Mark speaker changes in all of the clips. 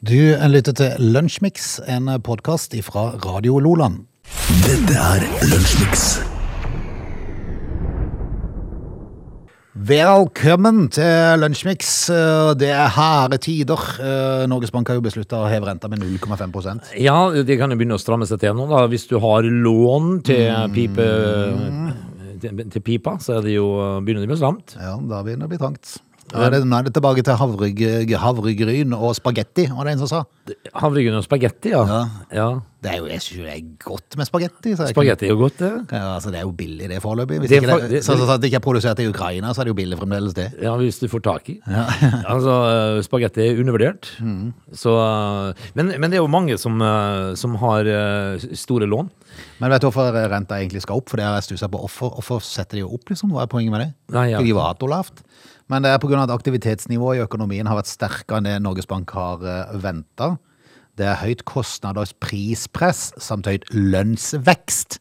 Speaker 1: Du lytter til Lunsjmix, en podkast fra Radio Loland.
Speaker 2: Dette er Lunsjmix.
Speaker 1: Velkommen til Lunsjmix. Det er harde tider. Norges Bank har jo beslutta å heve renta med 0,5
Speaker 3: Ja, det kan jo begynne å stramme seg til nå, da. Hvis du har lån til
Speaker 1: Mm.
Speaker 3: pipe til til pipa, så er det jo, begynner det å bli stramt.
Speaker 1: Ja, da begynner det å bli trangt. Nå er det, nå er det tilbake til havregryn havregryn og spagetti, var det en som sa.
Speaker 3: Havregryn og spagetti, ja.
Speaker 1: Ja.
Speaker 3: ja.
Speaker 1: Det er jo, jeg synes jo det er godt med spagetti. sa jeg.
Speaker 3: Spagetti er jo godt, det.
Speaker 1: Ja, altså, det er jo billig det foreløpig. Hvis
Speaker 3: Det er
Speaker 1: ikke
Speaker 3: for-
Speaker 1: det,
Speaker 3: det-
Speaker 1: så, så, så at det ikke er produsert i Ukraina, så er det jo billig fremdeles det.
Speaker 3: Ja, hvis du får tak i. altså, eh, spagetti er undervurdert.
Speaker 1: Mm.
Speaker 3: Så, eh, men, men det er jo mange som, eh, som har eh, store lån.
Speaker 1: Men vet du hvorfor eh, renta egentlig skal opp? For det har jeg stussa på. Hvorfor, hvorfor setter de jo opp, liksom? Hva er poenget med det?
Speaker 3: Nei, ja.
Speaker 1: Fordi de var hatt og lavt. Men det er pga. at aktivitetsnivået i økonomien har vært sterkere enn det Norges Bank har venta. Det er høyt kostnaders prispress samt høyt lønnsvekst.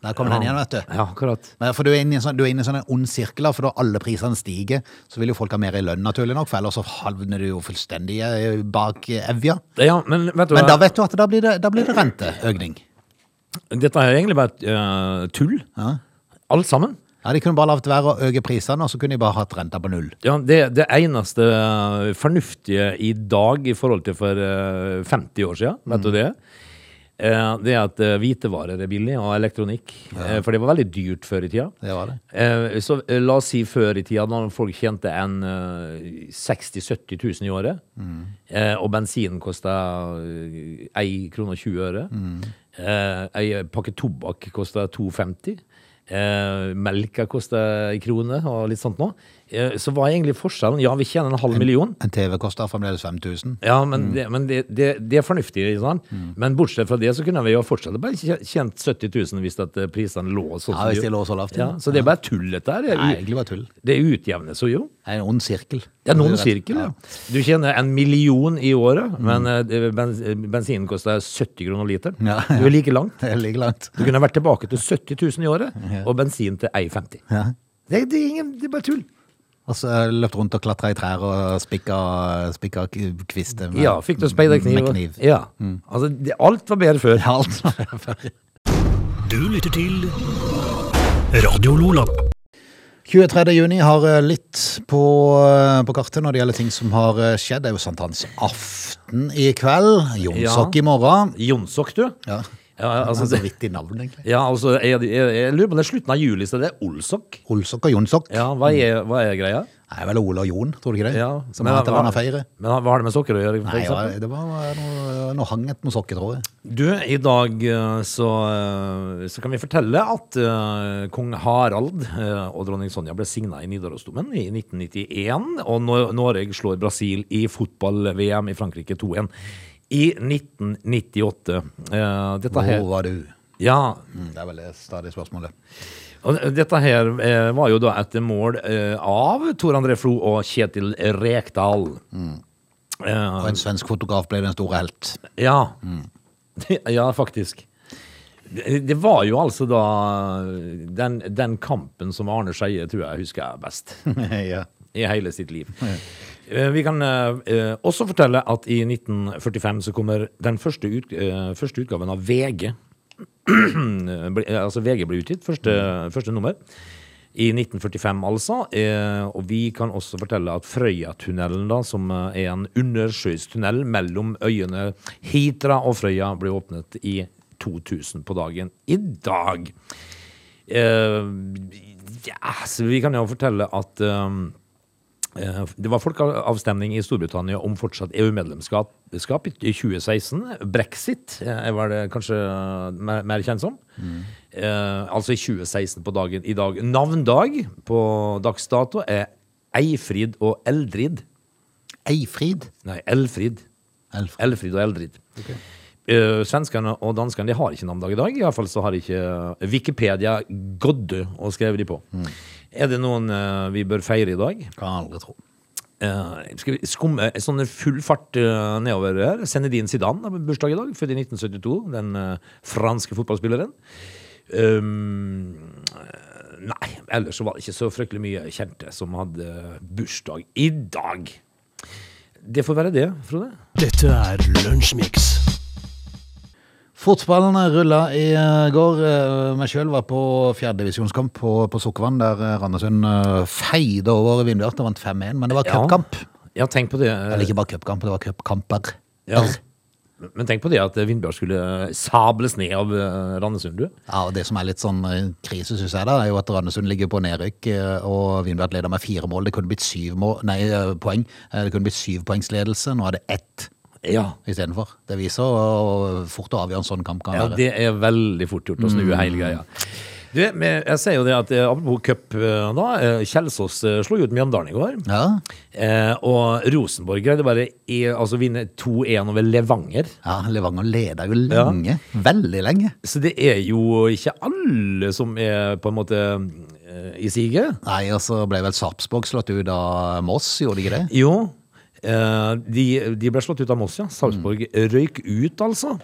Speaker 1: Der kommer den igjen, vet du.
Speaker 3: Ja, akkurat.
Speaker 1: Men For du er inne i en sånn, du er inne i en sånn en ond sirkel, da, for da alle prisene stiger, så vil jo folk ha mer i lønn, naturlig nok, for ellers så havner du jo fullstendig eh, bak eh, evja.
Speaker 3: Ja, men vet du
Speaker 1: Men da
Speaker 3: hva?
Speaker 1: vet du at da blir det, da blir det renteøkning.
Speaker 3: Dette er egentlig bare eh, tull.
Speaker 1: Ja.
Speaker 3: Alt sammen.
Speaker 1: Ja, De kunne bare latt være å øke prisene, og så kunne de bare hatt renta på null.
Speaker 3: Ja, det, det eneste eh, fornuftige i dag i forhold til for eh, 50 år siden, vet du det? Eh, Det er at eh, hvitevarer er billig, og elektronikk. Eh, For det var veldig dyrt før i tida.
Speaker 1: Det var det.
Speaker 3: Eh, Så eh, la oss si før i tida, når folk tjente en eh, 60 000-70 000 i året,
Speaker 1: Mm.
Speaker 3: eh, og bensinen kosta 1 krone og 20 øre,
Speaker 1: Mm.
Speaker 3: eh, ei pakke tobakk kosta 2,50, eh, melka kosta ei krone og litt sånt nå, eh, så hva er egentlig forskjellen? Ja, vi tjener en halv million.
Speaker 1: En Mm. TV koster fremdeles 5000.
Speaker 3: Ja, men, det, men det, det, det er fornuftig. ikke sant?
Speaker 1: Mm.
Speaker 3: Men bortsett fra det så kunne vi jo fortsatt bare tje- tjent 70 000 hvis at eh, prisene lå sånn.
Speaker 1: Ja,
Speaker 3: som
Speaker 1: hvis
Speaker 3: de-
Speaker 1: de lå så lavt, ja.
Speaker 3: Ja, så det er bare tull, dette her. Det er
Speaker 1: Nei,
Speaker 3: u-
Speaker 1: egentlig bare tull.
Speaker 3: det utjevnes så jo.
Speaker 1: Det er en ond sirkel.
Speaker 3: Det er noen
Speaker 1: Det er rett.
Speaker 3: sirkel, ja. Du tjener en million i året, men eh, det- bens bensinen koster 70 kroner literen.
Speaker 1: Ja, ja.
Speaker 3: Du er like langt.
Speaker 1: Det ligger langt.
Speaker 3: Du kunne vært tilbake til 70 000 i året, og bensin til 1,50.
Speaker 1: Ja.
Speaker 3: Det, det, er ingen, det er bare tull.
Speaker 1: Og så har jeg løpt rundt og klatra i trær og spikka, spikka k- kvister med,
Speaker 3: Ja, fikk du speiderkniv?
Speaker 1: med
Speaker 3: og-
Speaker 1: kniv.
Speaker 3: Ja. Altså, det, alt var bedre før.
Speaker 1: Alt.
Speaker 2: Du lytter til Radio Lola.
Speaker 1: 23. juni har eh, litt på, eh, på kartet når det gjelder ting som har eh, skjedd. Det er jo sankthansaften i kveld. Jonsok i morgen.
Speaker 3: Jonsok, du.
Speaker 1: Ja.
Speaker 3: Ja,
Speaker 1: Altså,
Speaker 3: altså,
Speaker 1: så
Speaker 3: det,
Speaker 1: vidt i navn, egentlig.
Speaker 3: ja, altså jeg, jeg, jeg lurer på om det er slutten av juli, så det er Olsok.
Speaker 1: Olsok og Jonsok.
Speaker 3: Ja, hva er, hva er greia?
Speaker 1: Det er vel Ole og Jon, tror du ikke det?
Speaker 3: Ja,
Speaker 1: Som har hatt en annen feire.
Speaker 3: Men hva har det med sokker å gjøre? for
Speaker 1: Nei,
Speaker 3: eksempel?
Speaker 1: ja, det var eh, noe, noe hang et noe sokketråd.
Speaker 3: Du, i dag eh, så, eh, så kan vi fortelle at eh, kong Harald eh, og dronning Sonja ble signa i Nidarosdomen i 1991, og Nor- Norge slår Brasil i fotball-VM i Frankrike 2-1 i 1998. Eh, Dette her,
Speaker 1: Hvor var du?
Speaker 3: ja,
Speaker 1: Mm, Det er vel det stadige spørsmålet.
Speaker 3: og dette her eh, var jo da et mål eh, av Tor André Flo og Kjetil Rekdal. Eh,
Speaker 1: Og en svensk fotograf ble den store helt.
Speaker 3: Ja. ja, faktisk. Det det var jo altså da den, den kampen som Arne Skeie tror jeg husker jeg best
Speaker 1: ja.
Speaker 3: i hele sitt liv. Eh, Vi kan eh, eh, også fortelle at i 1945 så kommer den første, ut, eh, første utgaven av VG. Ble- eh, altså VG ble utgitt, første, første nummer. I 1945, altså. Eh, og vi kan også fortelle at Frøyatunnelen, da, som eh, er en undersjøisk tunnel mellom øyene Hitra og Frøya, ble åpnet i 2000 på dagen i dag. Eh, ja, så vi kan jo fortelle at ehm, eh, det var folkeavstemning i Storbritannia om fortsatt EU-medlemskap skap i 2016. Brexit eh, var det kanskje eh, mer, mer kjent som. Eh, altså i 2016 på dagen i dag. Navndag på dags dato er Eifrid og Eldrid.
Speaker 1: Eifrid.
Speaker 3: Nei, Elfrid.
Speaker 1: Elfrid.
Speaker 3: Elfrid og Eldrid. Eh, svenskene og danskene de har ikke navndag i dag. Iallfall så har ikke Wikipedia Godde å skrive de på. Er det noen eh, vi bør feire i dag?
Speaker 1: Kan jeg aldri tro.
Speaker 3: Eh, skal vi skumme eh, sånn full fart eh, nedover her? Zenedine Zidane har bursdag i dag, født i 1972. Den eh, franske fotballspilleren. Um, eh, nei, ellers så var det ikke så fryktelig mye kjente som hadde bursdag i dag. Det får være det, Frode.
Speaker 2: Dette er Lunsjmix.
Speaker 1: Fotballen rulla i eh, går. Eh, Meg sjøl var på fjerdedivisjonskamp på, på Sukkervann, der eh, Randesund eh, feide over Vindbjart og vant 5-1. Men det var
Speaker 3: Ja.
Speaker 1: cupkamp.
Speaker 3: Ja, tenk på det. eh,
Speaker 1: Eller ikke bare cupkamp, det var cupkamper.
Speaker 3: Ja. Men tenk på det at Vindbjørg skulle sables ned av eh, Randesund, du.
Speaker 1: Ja, og Det som er litt sånn eh, krise, synes jeg, da, er jo at Randesund ligger på nedrykk, eh, og Vindbjart leder med fire mål. Det kunne blitt syv mål, nei, eh, poeng. Eh, Det kunne blitt syvpoengsledelse. Nå er det ett
Speaker 3: Ja.
Speaker 1: istedenfor. Det viser hvor fort å avgjøre en sånn kamp kan
Speaker 3: Ja,
Speaker 1: være.
Speaker 3: det er veldig fort gjort å snu hele greia. Du, men jeg ser jo det at eh, Apropos cup, eh, da. eh, Kjelsås eh, slo jo ut Mjøndalen i går.
Speaker 1: Ja,
Speaker 3: Eh, og Rosenborg greide bare i, altså, vinne 2-1 over Levanger.
Speaker 1: ja Levanger leder jo lenge. Veldig lenge.
Speaker 3: Så det er jo ikke alle som er på en måte eh, i siget.
Speaker 1: Nei, og så ble vel Sarpsborg slått ut av Moss, gjorde de ikke det?
Speaker 3: Jo, eh, de, de ble slått ut av Moss, ja. Sarpsborg røyk ut, altså.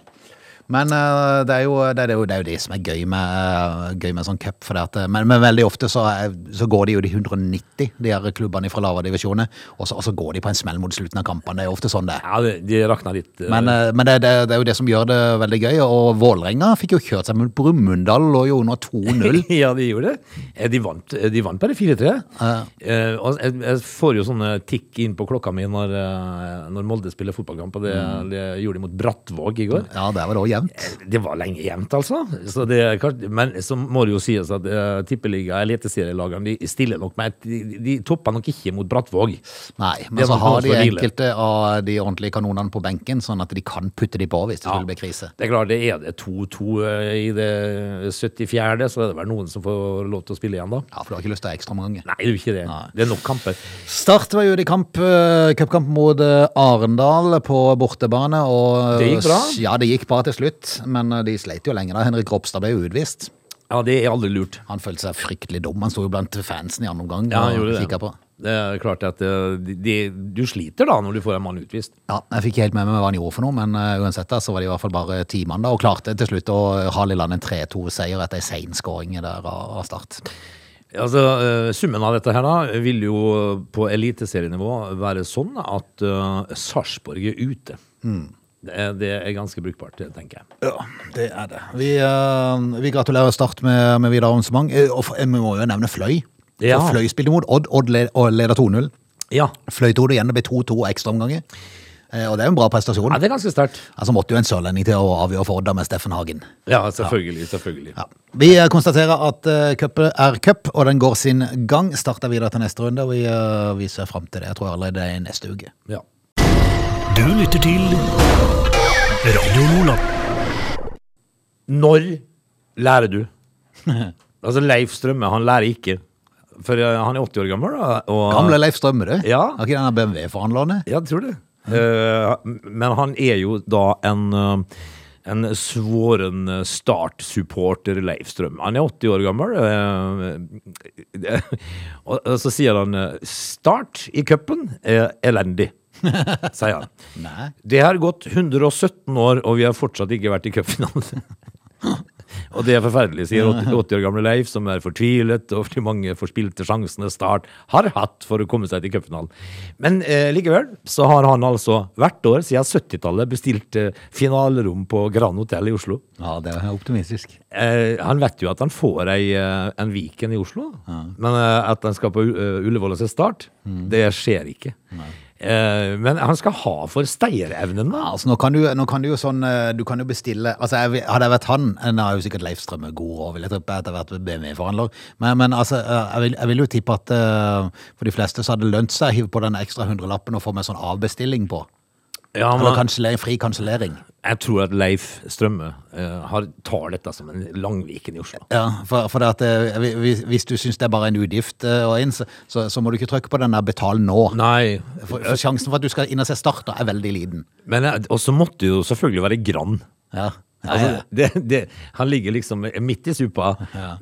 Speaker 1: Men eh, det, er jo, det, er jo, det er jo det som er gøy med, gøy med sånn cup. For det at, men, men veldig ofte så, er, så går de jo de 190, de her klubbene fra lavere divisjoner. Og så, og så går de på en smell mot slutten av kampene. Det er jo ofte sånn det er.
Speaker 3: Ja, det, de rakna litt. eh,
Speaker 1: Men, eh, men det, det, det er jo det som gjør det veldig gøy. Og Vålerenga fikk jo kjørt seg mot Brumunddal, lå jo under 2-0.
Speaker 3: ja, de gjorde det. Eh, De vant, eh, de vant bare 4-3.
Speaker 1: Ja.
Speaker 3: Eh, og jeg, jeg får jo sånne tikk inn på klokka mi når, eh, når Molde spiller fotballkamp, og det, det gjorde de mot Brattvåg i går.
Speaker 1: Ja, der var det òg jevnt.
Speaker 3: Det var lenge jevnt, altså. Så det, er kanskje- men så må det jo sies at uh, tippeliga- eliteserielagene de stiller nok med et- De, de topper nok ikke mot Brattvåg.
Speaker 1: Nei, men
Speaker 3: Det
Speaker 1: så
Speaker 3: var
Speaker 1: har de
Speaker 3: for tidlig.
Speaker 1: enkelte av de ordentlige kanonene på benken, sånn at de kan putte de på hvis det
Speaker 3: Ja.
Speaker 1: skulle bli krise.
Speaker 3: Det er klart, det er det 2-2 i det 74., så er det vel noen som får lov til å spille igjen, da.
Speaker 1: Ja, for du har ikke lyst til ekstraomganger.
Speaker 3: Nei, det er jo ikke det.
Speaker 1: Nei.
Speaker 3: Det er nok kamper.
Speaker 1: Start var jo ute i kamp, eh, cupkamp mot eh, Arendal på bortebane. Og, eh,
Speaker 3: Det gikk bra.
Speaker 1: Ja, det gikk bra til slutt, men eh, de sleit jo lenge da. Henrik Ropstad ble jo utvist.
Speaker 3: Ja, det er aldri lurt.
Speaker 1: Han følte seg fryktelig dum. Han sto jo blant fansen i andre omgang.
Speaker 3: Ja, han
Speaker 1: og
Speaker 3: gjorde
Speaker 1: kikket
Speaker 3: det.
Speaker 1: På.
Speaker 3: Det er klart at eh, de, de, du sliter da når du får en mann utvist.
Speaker 1: Ja, jeg fikk ikke helt med meg hva han gjorde for noe, men eh, uansett da, så var det i hvert fall bare ti mann da, og klarte til slutt å ha Lilleland en 3-2-seier etter en seinskåring der av av Start.
Speaker 3: Altså, eh, Summen av dette her da vil jo på eliteserienivå være sånn at eh, Sarpsborg er ute. Det, er, det er ganske brukbart, det tenker jeg.
Speaker 1: Mm. Ja, det er det. Vi, eh, vi gratulerer Start med, med videre arrangement. Eh, Og for- eh, vi må jo nevne Fløy. For
Speaker 3: Ja.
Speaker 1: Fløy spilte mot Odd, Odd led, og leder 2-0.
Speaker 3: Ja,
Speaker 1: Fløy to det igjen, det ble 2-2 ekstraomganger. Eh, Og det er jo en bra prestasjon.
Speaker 3: ja det er ganske sterkt.
Speaker 1: Altså måtte jo en sørlending til å avgjøre for Odd da med Steffen Hagen.
Speaker 3: Ja, selvfølgelig. selvfølgelig.
Speaker 1: Ja. Vi eh, konstaterer at eh, cupet er cup, og den går sin gang. Starter videre til neste runde, og vi, eh, vi ser fram til det. Jeg tror allerede det er neste uke.
Speaker 3: Ja.
Speaker 2: Du lytter til Radio Lola.
Speaker 3: Når lærer du? altså, Leif Strømme, han lærer ikke. For eh, han er 80 år gammel, da. Og,
Speaker 1: Gamle Leif Strømme, du.
Speaker 3: Ja.
Speaker 1: Har ikke denne BMW-forhandlerne?
Speaker 3: Ja, jeg tror det. Eh, men han er jo da en, eh, en svoren eh, Start-supporter, Leif Strøm. Han er 80 år gammel. eh, og, og så sier han eh, 'Start i cupen er elendig', sier han.
Speaker 1: Nei.
Speaker 3: Det har gått 117 år, og vi har fortsatt ikke vært i cupfinalen. Og det er forferdelig, sier 80 80 år gamle Leif, som er fortvilet over de mange forspilte sjansene Start har hatt for å komme seg til cupfinalen. Men eh, likevel så har han altså hvert år siden 70-tallet bestilt eh, finalerom på Gran Hotell i Oslo.
Speaker 1: Ja, det er optimistisk.
Speaker 3: Eh, han vet jo at han får ei, eh, en Viken i Oslo, men eh, at han skal på U- eh, Ullevål og se Start, det skjer ikke. Eh, men han skal ha for stayerevnen, da.
Speaker 1: Ja, Altså, nå, kan du, nå kan du jo sånn eh, Du kan jo bestille altså, jeg, Hadde jeg vært han eh, Nå er jo sikkert Leif Strømme god og vil jeg tippe etter hvert BMW-forhandler. Men, men altså, eh, jeg vil, jeg vil jo tippe at eh, for de fleste så hadde det lønt seg å hive på den ekstra hundrelappen og få med sånn avbestilling på.
Speaker 3: Ja, men-
Speaker 1: Eller kansellering, fri kansellering.
Speaker 3: Jeg tror at Leif Strømme eh, har, tar dette som en langviken i Oslo.
Speaker 1: Ja, for, for det at eh, vi- vi- Hvis du syns det er bare en utgift eh, og inn, så, så, så må du ikke trykke på den der 'betal nå'.
Speaker 3: Nei,
Speaker 1: For, for sjansen for at du skal inn og se Start, da, er veldig liten.
Speaker 3: men jeg- Og så måtte det jo selvfølgelig være Grann.
Speaker 1: Ja.
Speaker 3: Altså, det, det, han ligger liksom midt i supa.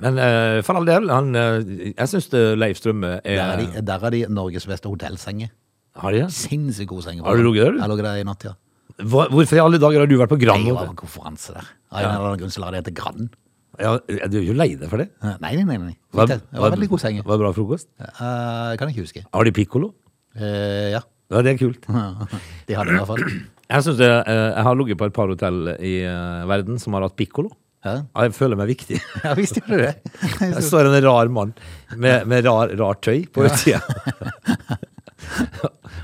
Speaker 3: Men eh, for all del, han, eh, jeg syns Leif Strømme er,
Speaker 1: der, er de, der er de Norges beste hotellsenger.
Speaker 3: Har de det?
Speaker 1: Sinnssykt god seng.
Speaker 3: Har du ligget der, du?
Speaker 1: Jeg lå der i natt, ja.
Speaker 3: Hva, hvorfor i alle dager har du vært på Grann?
Speaker 1: Jeg var
Speaker 3: Hotel?
Speaker 1: på konferanse der. Av en eller annen grunn så la de det til Grann.
Speaker 3: Ja, du er jo lei deg for det.
Speaker 1: Nei, nei, nei. nei.
Speaker 3: Hva-
Speaker 1: Fint, det. Det var
Speaker 3: hva-
Speaker 1: veldig god seng.
Speaker 3: Var det bra frokost?
Speaker 1: Eh, kan jeg ikke huske.
Speaker 3: Har de pikkolo?
Speaker 1: Eh, ja.
Speaker 3: Ja, det er kult.
Speaker 1: De hadde det i hvert fall.
Speaker 3: Jeg, synes det, eh, jeg har ligget på et par hotell i eh, verden som har hatt pikkolo.
Speaker 1: Ja.
Speaker 3: Jeg føler meg viktig.
Speaker 1: Ja, visst gjorde du det.
Speaker 3: Jeg står en rar mann med, med rar, rart tøy på utsida.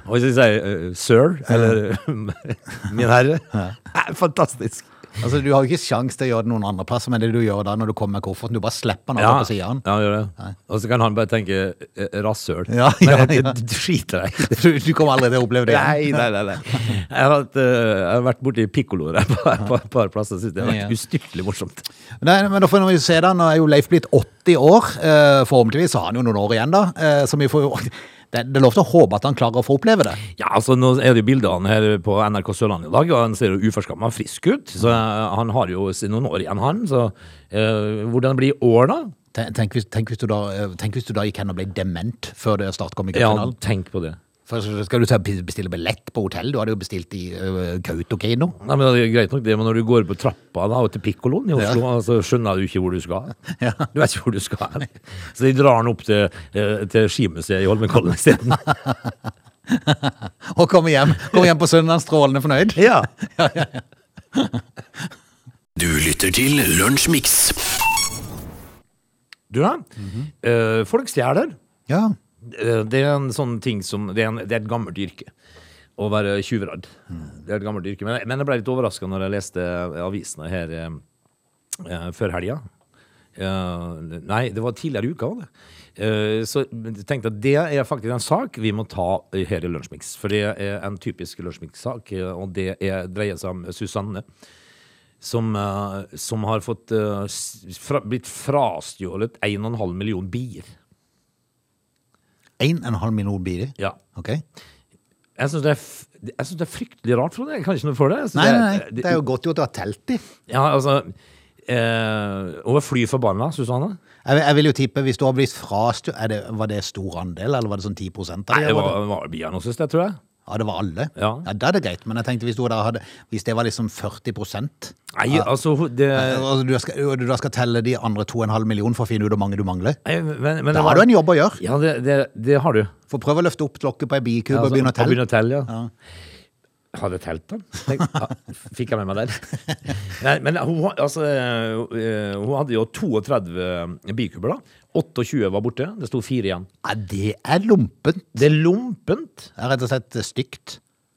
Speaker 3: Og hvis jeg sier eh, 'sir' eller 'min herre' er Fantastisk.
Speaker 1: Altså, du har jo ikke sjans til å gjøre det noen andre plasser, men det du gjør da når du kommer med kofferten, du bare slipper den
Speaker 3: Ja,
Speaker 1: over på
Speaker 3: ja,
Speaker 1: siden.
Speaker 3: han gjør det. Og så kan han bare tenke eh, 'rasshøl'.
Speaker 1: Ja,
Speaker 3: Men
Speaker 1: ja,
Speaker 3: jeg-
Speaker 1: ja.
Speaker 3: du driter deg i det.
Speaker 1: Du, du kommer aldri til å oppleve det igjen.
Speaker 3: Nei, nei, nei. nei. Jeg, har vært, eh, jeg har vært borti pikkoloer et par, par, par plasser. Synes det har vært
Speaker 1: Ja.
Speaker 3: ustyrtelig morsomt.
Speaker 1: Nei, men da får vi se da, nå er jo Leif blitt 80 år, eh, forhåpentligvis har han jo noen år igjen da, eh, så vi får jo... Det, det er lov til å håpe at han klarer å få oppleve det.
Speaker 3: Ja, altså Nå er det jo bilder av han her på NRK Sørlandet i dag, og han ser jo uforskamma frisk ut. Så eh, han har jo s- noen år igjen, han. Så eh, hvordan blir år, da?
Speaker 1: Ten- Tenk hvis, tenk, hvis du da, eh, tenk hvis du da gikk hen og ble dement før det start kom i
Speaker 3: Ja,
Speaker 1: cupfinalen.
Speaker 3: tenk på det.
Speaker 1: For så skal du ta- bestille billett på hotell, du hadde jo bestilt i uh, Kautokeino.
Speaker 3: Nei, men det er Greit nok det, men når du går på trappa da, og til pikkoloen i Oslo, så skjønner du ikke hvor du skal.
Speaker 1: Ja.
Speaker 3: Du vet ikke hvor du skal. hen. Så de drar han opp til, eh, til skimuseet i Holmenkollen isteden.
Speaker 1: Og komme hjem, komme hjem på søndagen strålende fornøyd.
Speaker 3: ja.
Speaker 2: Du lytter til Lunsjmix.
Speaker 3: Du, da?
Speaker 1: Mhm.
Speaker 3: eh, folk stjeler.
Speaker 1: Ja,
Speaker 3: Eh, Det er en sånn ting som Det er, en, det er et gammelt yrke å være tjuvradd. Det er et gammelt yrke. Men, jeg- men jeg ble litt overraska når jeg leste avisene her eh, eh, før helga. Eh, nei, det var tidligere i uka, var det. Eh, så jeg tenkte at det er faktisk en sak vi må ta eh, her i Lunsjmix. For det er en typisk Lunsjmix-sak, eh, og det er, dreier seg om Susanne. Som, eh, som har fått, eh, s- fra, blitt frastjålet 1,5 million bier.
Speaker 1: en og en halv million biler.
Speaker 3: Ja.
Speaker 1: Ok.
Speaker 3: Jeg syns det, er f- jeg synes det er fryktelig rart, Frode. Jeg kan ikke noe for det. Jeg synes
Speaker 1: Nei, nei, nei,
Speaker 3: det-
Speaker 1: det er jo godt gjort å ha telt i.
Speaker 3: Ja, altså eh, Hun er fly forbanna, Susanne.
Speaker 1: Jeg, jeg vil jo tippe, hvis du har blitt frastjålet, er det- var det stor andel, eller var det sånn 10 av de?
Speaker 3: Det
Speaker 1: eller
Speaker 3: var, var biene hun syntes det, tror jeg.
Speaker 1: Ja, det var alle.
Speaker 3: Ja.
Speaker 1: da er det greit, men jeg tenkte hvis, du da hadde, hvis det var liksom 40
Speaker 3: Nei, altså hun- det,
Speaker 1: Altså, du, skal, du da skal telle de andre 2,5 millioner for å finne ut hvor mange du mangler.
Speaker 3: nei, men, men
Speaker 1: Da har du en jobb å gjøre.
Speaker 3: Ja, det, det, det har du.
Speaker 1: For prøv å løfte opp lokket på ei bikube
Speaker 3: Altså,
Speaker 1: og begynne å telle.
Speaker 3: å telle ja. Hadde jeg telt den? Tenk, ja, fikk jeg med meg den? Nei, men hun, har- altså, eh, hun hadde jo 32 bikuber, da. 28 var borte. Det sto fire igjen.
Speaker 1: Ja, det er lompent.
Speaker 3: Det er lompent.
Speaker 1: Det er rett og slett eh, stygt.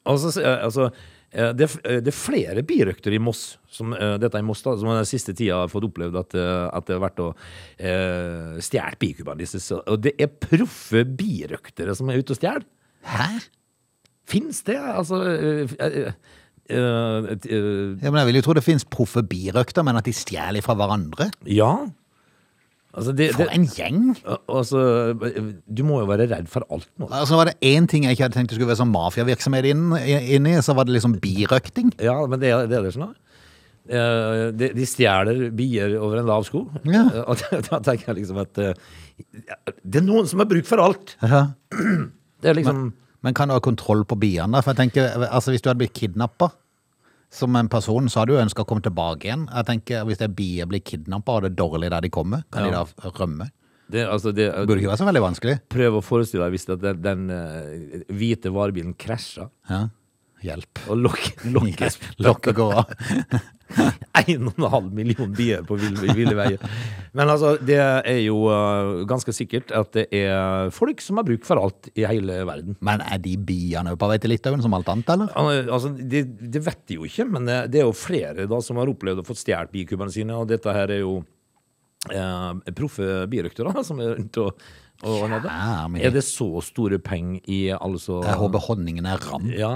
Speaker 3: Altså, s- eh, altså eh, det, er f- eh, det er flere birøkter i Moss, som, eh, dette er i Moss da, som den siste tida har fått opplevd at, eh, at det har vært å eh, stjele bikubene disse. Så- Og det er proffe birøktere som er ute og stjeler.
Speaker 1: Hæ?
Speaker 3: Fins det? Altså eh, eh, eh, eh, eh,
Speaker 1: Ja, men jeg vil jo tro det finnes proffe birøkter, men at de stjeler fra hverandre?
Speaker 3: Ja. Altså, det,
Speaker 1: For
Speaker 3: det,
Speaker 1: en gjeng!
Speaker 3: al- altså, eh, du må jo være redd for alt nå.
Speaker 1: Altså Var det én ting jeg ikke hadde tenkt det skulle være sånn mafiavirksomhet inn- inn i, så var det liksom birøkting.
Speaker 3: Ja, men det er det, er det sånn da. Eh, de, de stjeler bier over en lav sko.
Speaker 1: Ja.
Speaker 3: Eh, og da, da tenker jeg liksom at eh, Det er noen som har bruk for alt! Det er liksom
Speaker 1: Men kan du ha kontroll på biene? For jeg tenker, altså Hvis du hadde blitt kidnappa som en person, så hadde du ønska å komme tilbake igjen. Jeg tenker, Hvis det er bier blir kidnappa, og det er dårlig der de kommer, kan
Speaker 3: Ja.
Speaker 1: de da rømme?
Speaker 3: det, altså det,
Speaker 1: Det burde ikke være så veldig vanskelig.
Speaker 3: Prøv å forestille deg hvis det, at den, den eh, hvite varebilen krasja,
Speaker 1: Ja. Hjelp.
Speaker 3: og lokk- lokkes
Speaker 1: Lokket går av.
Speaker 3: 1,5 million bier på ville, ville veier. Men altså, det er jo eh, ganske sikkert at det er folk som har bruk for alt i hele verden.
Speaker 1: Men er de biene òg på vei til Litauen, som alt annet, eller?
Speaker 3: Al- Altså, det, det vet de jo ikke, men det, det er jo flere da, som har opplevd å få stjålet bikubene sine, og dette her er jo eh, proffe birøktere da, som er rundt og, og ordner det.
Speaker 1: Ja, men-
Speaker 3: Er det så store penger i altså
Speaker 1: Jeg håper honningen er ram,
Speaker 3: Ja.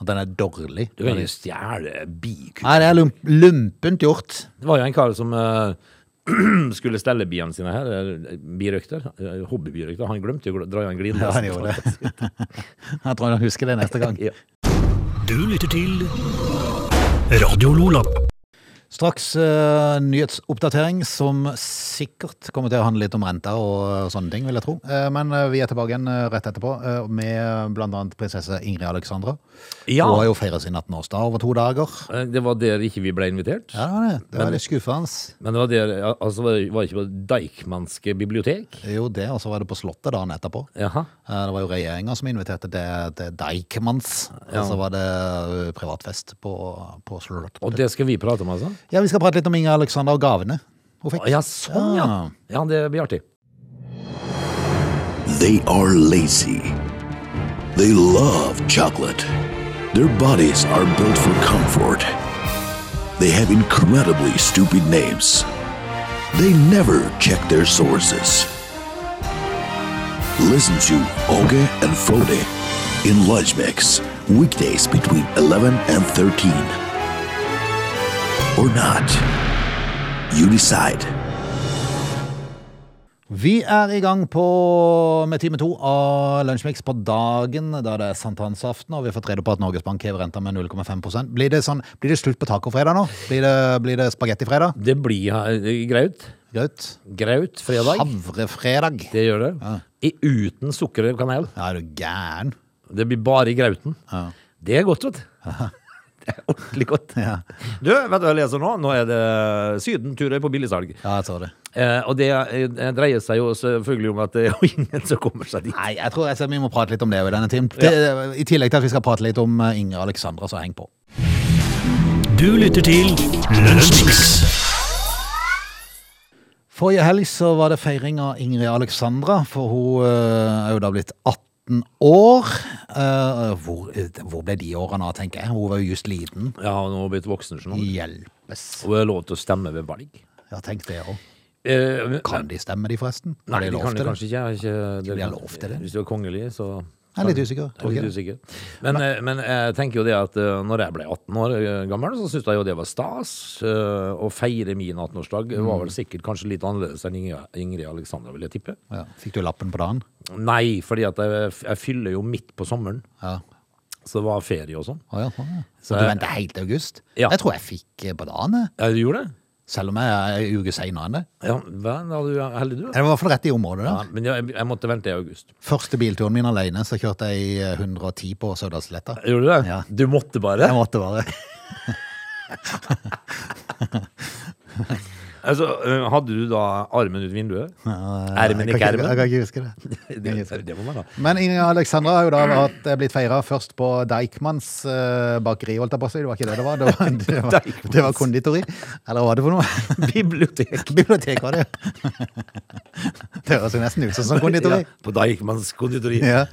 Speaker 1: at den er dårlig.
Speaker 3: Du kan jo stjele bikub.
Speaker 1: Nei, det er lump lumpent gjort.
Speaker 3: Det var jo en kar som eh, skulle stelle biene sine her, eh, birøkter, eh, hobbybirøkter. Han glemte jo å dra i en glidelås.
Speaker 1: Ja, han gjorde det. Jeg tror han husker det neste gang.
Speaker 3: Ja.
Speaker 2: Du lytter til Radio Lola.
Speaker 1: Straks eh, nyhetsoppdatering som sikkert kommer til å handle litt om renta og sånne ting, vil jeg tro. Eh, men eh, vi er tilbake igjen eh, rett etterpå eh, med blant annet prinsesse Ingrid Alexandra.
Speaker 3: Ja.
Speaker 1: Hun har jo feira sin 18-årsdag over to dager.
Speaker 3: Eh, Det var der ikke vi ble invitert.
Speaker 1: Ja, det var det. Det var litt skuffende.
Speaker 3: Men det var der ja, Altså, var det var det ikke på Deichmanske bibliotek?
Speaker 1: Jo, det, og så var det på Slottet dagen etterpå.
Speaker 3: Jaha.
Speaker 1: Eh, Det var jo regjeringa som inviterte til, til Deichmans, og så var det eh, privatfest på, på Slottet.
Speaker 3: Og det skal vi prate om, altså?
Speaker 1: Ja, vi skal prate litt om Ingrid Alexandra og gavene hun fikk.
Speaker 3: Ja, sånn, ja.
Speaker 1: Ja.
Speaker 3: Ja, det blir artig.
Speaker 2: They are lazy. They love chocolate. Their bodies are built for comfort. They have incredibly stupid names. They never check their sources. Listen to Oge and Frode in Lunch Mix, weekdays between 11 and 13. Or not. You decide.
Speaker 1: Vi er i gang på, med time to av Lunsjmix på dagen, da det er sankthansaften, og vi har fått rede på at Norges Bank hever renta med 0,5 blir det, sånn, blir det slutt på tacofredag nå? Blir det, blir det spagettifredag?
Speaker 3: Det blir eh, graut.
Speaker 1: Graut?
Speaker 3: Graut fredag.
Speaker 1: Havrefredag?
Speaker 3: Det gjør det. I, uten sukker og kanel.
Speaker 1: Ja, er du gæren?
Speaker 3: Det blir bare i grauten.
Speaker 1: Ja.
Speaker 3: Det er godt, vet du. Det er ordentlig godt.
Speaker 1: Ja.
Speaker 3: Du, vet du hva jeg leser nå? Nå er det sydenturer på billigsalg.
Speaker 1: Ja, jeg tror det.
Speaker 3: Eh, og det eh, dreier seg jo selvfølgelig om at det er jo ingen som kommer seg dit.
Speaker 1: Nei, jeg tror jeg, vi må prate litt om det i denne timen. Det- eh, I tillegg til at vi skal prate litt om eh, Inger Alexandra, så heng på.
Speaker 4: Du lytter til Lunsjmix.
Speaker 1: Forrige helg så var det feiring av Ingrid Alexandra, for hun eh, er jo da blitt 18 år. Eh, hvor, eh, hvor ble de årene av, tenker jeg? Hun var jo just liten.
Speaker 3: Ja, og nå har hun blitt voksen. Sånn.
Speaker 1: Hjelpes.
Speaker 3: Og er lov til å stemme ved valg.
Speaker 1: Ja, tenk det òg.
Speaker 3: Eh,
Speaker 1: Kan de stemme, de forresten? Har
Speaker 3: Nei, de
Speaker 1: lov
Speaker 3: kan
Speaker 1: til
Speaker 3: det kanskje ikke. Jeg har ikke det,
Speaker 1: de har lov til det?
Speaker 3: Hvis du er kongelig, så
Speaker 1: Jeg er litt usikker, tror
Speaker 3: Jeg er litt usikker. Men, eh, men jeg tenker jo det at eh, når jeg ble 18 år eh, gammel, så syntes jeg jo det var stas. eh, Å feire min 18-årsdag Det var vel
Speaker 1: Mm.
Speaker 3: sikkert kanskje litt annerledes enn Ingrid, Ingrid Alexandra, vil jeg tippe.
Speaker 1: Ja. Fikk du lappen på dagen?
Speaker 3: Nei, fordi at jeg, jeg fyller jo midt på sommeren,
Speaker 1: Ja.
Speaker 3: så det var ferie og sånn.
Speaker 1: Å, ja, sånn, ja.
Speaker 3: Så
Speaker 1: Så du
Speaker 3: jeg-
Speaker 1: venta helt til august?
Speaker 3: Ja.
Speaker 1: Jeg tror jeg fikk eh, på dagen, jeg.
Speaker 3: Ja, du gjorde det?
Speaker 1: selv om jeg er en uke seinere enn det.
Speaker 3: Ja, vel, da er du heldig, du. da.
Speaker 1: Jeg var i hvert fall rett i området
Speaker 3: Ja,
Speaker 1: der.
Speaker 3: men jeg, jeg måtte vente i august.
Speaker 1: Første bilturen min alene, så kjørte jeg i eh, 110 på Sørdalsletta.
Speaker 3: Gjorde du det?
Speaker 1: Ja.
Speaker 3: Du måtte bare?
Speaker 1: Jeg måtte bare.
Speaker 3: Altså, øh, hadde du da armen ut vinduet? Ermen
Speaker 1: Jeg
Speaker 3: ikke
Speaker 1: kan Jeg
Speaker 3: ermen?
Speaker 1: kan ikke huske det.
Speaker 3: Det, det må man da.
Speaker 1: Men Ingrid Alexandra har jo da vært, eh, blitt feira først på Deichmans eh, bakeri, holdt jeg på å si. Det var ikke det det var. Det var, det var, det var konditori. Eller hva var det for noe?
Speaker 3: Bibliotek.
Speaker 1: Bibliotek var det, ja. Det høres jo nesten ut som sånn konditori.
Speaker 3: Ja, på Deichmans konditori. Ja.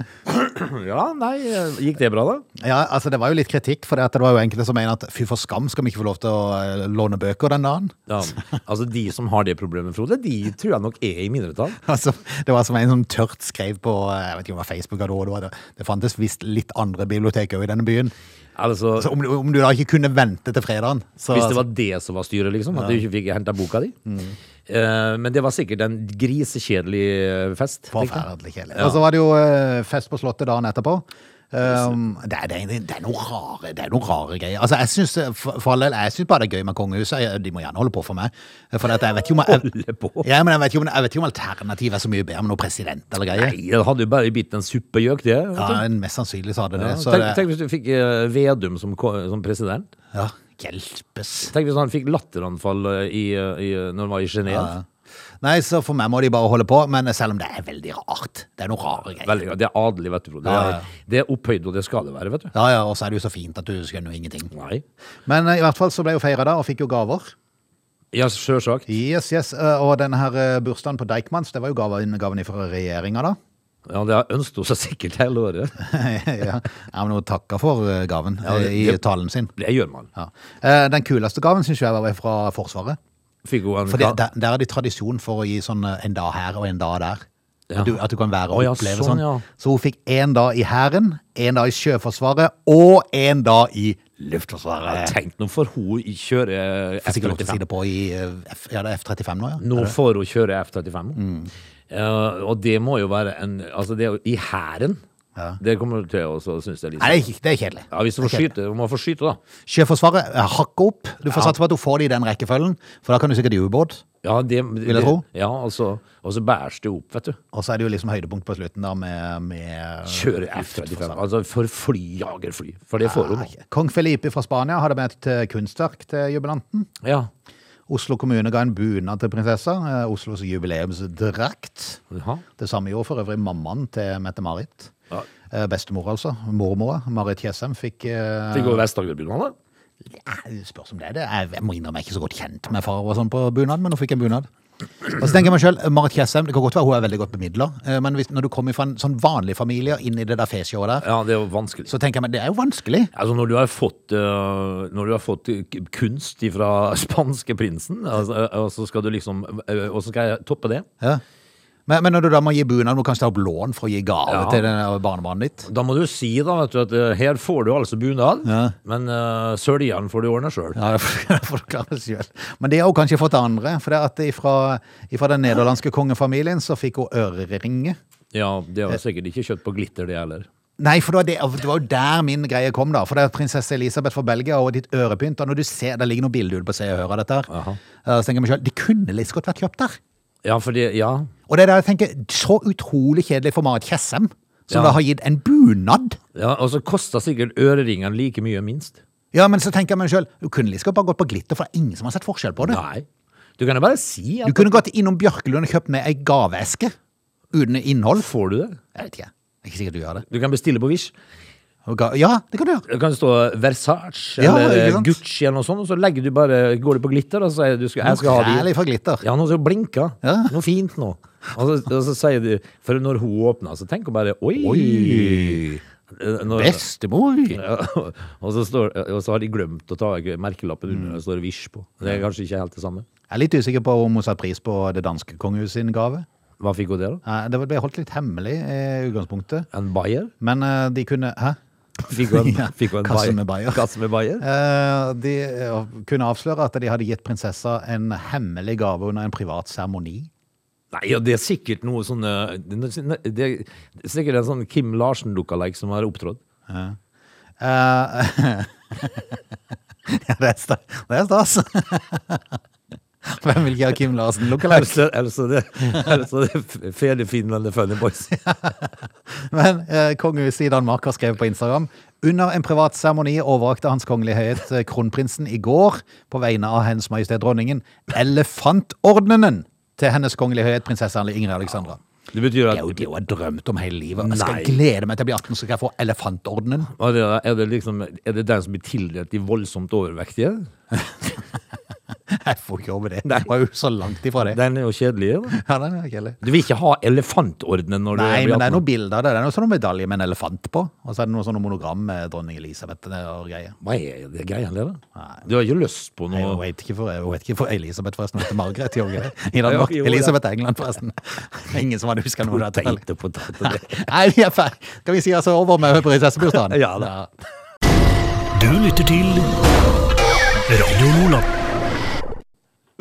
Speaker 1: Ja.
Speaker 3: nei, øh, gikk det bra da?
Speaker 1: ja, altså det var jo litt kritikk, for det at det var jo enkelte som mener at fy for skam, skal vi ikke få lov til å eh, låne bøker den dagen?
Speaker 3: Ja. Altså, de som har det problemet, Frode, de tror jeg nok er i mindretall.
Speaker 1: Altså, det var som en som tørt skrev på eh, jeg vet ikke om det var Facebook eller hva det var. Det, det fantes visst litt andre bibliotek òg i denne byen.
Speaker 3: Altså,
Speaker 1: Så om, du- om du da ikke kunne vente til fredagen så, altså, Mm.
Speaker 3: hvis det var det som var styret, liksom, at du ikke fikk hentet boka di. Eh, men det var sikkert en grisekjedelig eh, fest. tenker jeg.
Speaker 1: Forferdelig kjedelig. Og så var det jo eh, fest på Slottet dagen etterpå. Um, det, er, det, er, det, er noe rare, det er noen rare greier. Altså, jeg synes, eh, for, for all del, jeg syns bare det er gøy med kongehuset. Jeg- De må gjerne holde på for meg. For at jeg vet jo om,
Speaker 3: Holde
Speaker 1: jeg,
Speaker 3: på?
Speaker 1: ja, men jeg vet jo om, jeg vet jo om alternativet er så mye bedre med noe president eller greier.
Speaker 3: Nei, det hadde jo bare bitt en suppegjøk, det. vet
Speaker 1: Ja,
Speaker 3: du.
Speaker 1: en- Mest sannsynlig så hadde det
Speaker 3: Ja,
Speaker 1: det. Så
Speaker 3: tenk,
Speaker 1: det
Speaker 3: tenk hvis du fikk eh, Vedum som, ko- som president.
Speaker 1: ja, hjelpes.
Speaker 3: Tenk hvis han fikk latteranfall eh, i, eh, i, når han var i Genéve.
Speaker 1: Ja. Nei, så for meg må de bare holde på, men selv om det er veldig rart. Det er noe rare greier.
Speaker 3: Veldig, det er adelig, vet du. Frode. Det
Speaker 1: Ja,
Speaker 3: er,
Speaker 1: ja.
Speaker 3: det er opphøyd, og det skal det være, vet du.
Speaker 1: Ja, ja, og så er det jo så fint at du skjønner jo ingenting.
Speaker 3: Nei.
Speaker 1: Men eh, i hvert fall så ble jo feira da, og fikk jo gaver.
Speaker 3: Ja, sjølsagt.
Speaker 1: Yes, yes, eh, Og denne her eh, bursdagen på Deichmans, det var jo gaven, gaven fra regjeringa, da.
Speaker 3: Ja, det har ønsket hun seg sikkert hele året.
Speaker 1: ja, ja, men hun takka for eh, gaven
Speaker 3: Ja,
Speaker 1: eh, i
Speaker 3: det-
Speaker 1: talen sin.
Speaker 3: Det gjør man.
Speaker 1: Ja. Eh, Den kuleste gaven syns jeg var fra Forsvaret.
Speaker 3: Fikk hun en
Speaker 1: For det,
Speaker 3: ka-
Speaker 1: der, der er det tradisjon for å gi sånn eh, en dag her og en dag der.
Speaker 3: Ja.
Speaker 1: At Du, at du kan være og
Speaker 3: Å, ja,
Speaker 1: oppleve
Speaker 3: sånn,
Speaker 1: sånn.
Speaker 3: ja.
Speaker 1: Så hun fikk én dag i Hæren, én dag i Sjøforsvaret og én dag i
Speaker 3: Ja,
Speaker 1: Luftforsvaret.
Speaker 3: Tenk nå får hun kjøre
Speaker 1: Jeg er sikkert lov til å si
Speaker 3: F-35.
Speaker 1: det på i eh, F, ja, det Mm. er F-35 nå, ja.
Speaker 3: Nå får hun kjøre F-35. Eh, og det må jo være en Altså, det er jo i hæren. Det kommer du til å synes det er litt
Speaker 1: Nei, det er, ikke- det er kjedelig.
Speaker 3: Ja, hvis du får skyte, du må få skyte, da.
Speaker 1: Sjøforsvaret, eh, hakke opp. Du får satse på at du får det i den rekkefølgen, for da kan du sikkert i ubåt.
Speaker 3: Ja, det,
Speaker 1: jeg
Speaker 3: det-
Speaker 1: tro.
Speaker 3: Ja, altså, og så bæres det opp, vet du.
Speaker 1: Og så er det jo liksom høydepunkt på slutten da med, med
Speaker 3: Kjøre F-35. Altså for flyjagerfly. For det får hun.
Speaker 1: Nei, Kong Felipe fra Spania hadde med et eh, kunstverk til jubilanten.
Speaker 3: Ja.
Speaker 1: Oslo kommune ga en bunad til prinsessa. eh, Oslos jubileumsdrakt.
Speaker 3: Jaha.
Speaker 1: Det samme gjorde for øvrig mammaen til Mette-Marit.
Speaker 3: Ja.
Speaker 1: Eh, Bestemor, altså. Mormora, Marit Kjessem, fikk eh,
Speaker 3: Fikk hun Vest-Agder-bunaden?
Speaker 1: eh, Spørs om det er det. Jeg, jeg må innrømme jeg er ikke så godt kjent med far og sånn på bunad, men hun fikk en bunad. Og så tenker jeg meg selv, Marit Kjessem, det kan godt være hun er veldig godt bemidla, eh, men hvis, når du kommer fra en sånn vanlig familie og inn i det der fesjået der,
Speaker 3: Ja, det er jo vanskelig.
Speaker 1: så tenker jeg meg, det er jo vanskelig.
Speaker 3: Altså Når du har fått, øh, når du har fått k- kunst fra spanske prinsen, altså, øh, og så skal du liksom øh, Og så skal jeg toppe det?
Speaker 1: Ja. Men, men når du da må gi bunad, må du kanskje ta opp lån for å gi gave
Speaker 3: Ja.
Speaker 1: til denne barnebarnet ditt?
Speaker 3: Da må du si da vet du, at øh, her får du altså bunad,
Speaker 1: Ja.
Speaker 3: men uh, søljan får du ordne sjøl.
Speaker 1: Ja, det får det får du klare selv. Men de har jo kanskje fått det andre, for det er at ifra, ifra den nederlandske kongefamilien så fikk hun øreringe.
Speaker 3: Ja, det
Speaker 1: Eh.
Speaker 3: var sikkert ikke kjøtt på glitter, det heller.
Speaker 1: Nei, for det var, det, det var jo der min greie kom, da. For det er prinsesse Elisabeth fra Belgia og ditt ørepynt. Og når du ser, Det ligger noen bilder ute på Se og Hør av dette. her.
Speaker 3: Aha.
Speaker 1: Eh, Så tenker jeg meg selv, Det kunne litt godt vært kjøpt der.
Speaker 3: Ja, for det, ja.
Speaker 1: Og det er der jeg tenker, så utrolig kjedelig for Marit Tjessem, som
Speaker 3: Ja.
Speaker 1: da har gitt en bunad.
Speaker 3: ja og så kosta sikkert øreringene like mye, minst.
Speaker 1: Ja, men så tenker jeg meg sjøl, du kunne like godt bare gått på glitter, for det er ingen som har sett forskjell på det.
Speaker 3: Nei. Du kan jo bare si
Speaker 1: Du
Speaker 3: at
Speaker 1: kunne gått innom Bjørkelund og kjøpt med ei gaveeske uten innhold.
Speaker 3: Får du det?
Speaker 1: Jeg vet ikke. Det er ikke sikkert du gjør det.
Speaker 3: Du kan bestille på Wish.
Speaker 1: Og ga- Ja, det kan du gjøre.
Speaker 3: Det kan stå Versace
Speaker 1: Ja,
Speaker 3: eller
Speaker 1: ikke sant?
Speaker 3: Gucci eller noe sånt, og så legger du bare, går du på glitter, og så sier du skal, jeg skal ha de.
Speaker 1: Særlig fra glitter.
Speaker 3: Ja, noe som blinker.
Speaker 1: Ja.
Speaker 3: Noe fint nå. Og så, og så sier du For når hun åpner, så tenker hun bare Oi! Eh, Når,
Speaker 1: Bestemor!
Speaker 3: Ja, og, så står, og så har de glemt å ta merkelappen
Speaker 1: Mm.
Speaker 3: under, og så står det Wish på. Det er kanskje ikke helt det samme.
Speaker 1: Jeg er litt usikker på om hun satte pris på det danske kongehuset sin gave.
Speaker 3: Hva fikk hun der, da?
Speaker 1: Eh, Det var- ble holdt litt hemmelig eh, i utgangspunktet.
Speaker 3: En bayer?
Speaker 1: Men eh, de kunne Hæ?
Speaker 3: Fikk hun en,
Speaker 1: Ja,
Speaker 3: fikk hun en
Speaker 1: kasse med bayer.
Speaker 3: Kasse med bayer?
Speaker 1: Eh, De eh, kunne avsløre at de hadde gitt prinsessa en hemmelig gave under en privat seremoni.
Speaker 3: Nei, ja, det er sikkert noe sånn eh, Det det er sikkert en sånn Kim Larsen-lookalike som har opptrådt.
Speaker 1: Eh, ja, det er sta- det er stas. Hvem vil ikke ha Kim Larsen lookalike?
Speaker 3: Altså, altså det, altså det Fede Finland The Funny Boys.
Speaker 1: Men eh, kongehuset i Danmark har skrevet på Instagram Under en privat seremoni overrakte Hans Kongelige Høyhet eh, kronprinsen i går på vegne av Hennes Majestet Dronningen elefantordenen til Hennes Kongelige Høyhet prinsesse Ingrid Alexandra.
Speaker 3: Det betyr
Speaker 1: Det
Speaker 3: at
Speaker 1: er jo det hun har drømt om hele livet. Jeg skal
Speaker 3: Nei.
Speaker 1: glede meg til jeg blir 18, så skal jeg få elefantordenen.
Speaker 3: er det, er det liksom Er det den som blir tildelt de voldsomt overvektige?
Speaker 1: Jeg får ikke over det. Det var jo så langt ifra det.
Speaker 3: Den er jo kjedelig. da.
Speaker 1: Ja, den er ikke heller.
Speaker 3: Du vil ikke ha elefantordenen når
Speaker 1: Nei,
Speaker 3: du
Speaker 1: men
Speaker 3: blir
Speaker 1: det er
Speaker 3: 18.
Speaker 1: noen bilder av det. Det er noe sånn medalje med en elefant på. Og så er det noe sånn monogram med dronning Elisabeth og greier.
Speaker 3: Hva er det greia der, da? Du har ikke lyst på
Speaker 1: Nei, Hun
Speaker 3: noe
Speaker 1: vet ikke for, hun vet ikke for Elisabeth, forresten. Hun heter Margaret i Norge. I Danmark.
Speaker 3: Jo, jo, ja.
Speaker 1: Elisabeth er England, forresten. Ingen som hadde huska noe av dette.
Speaker 3: Poteter, poteter.
Speaker 1: Nei, vi er ferdig. Skal vi si oss over med prinsessebursdagen?
Speaker 3: Ja da.
Speaker 4: Du lytter til Radio Nordland.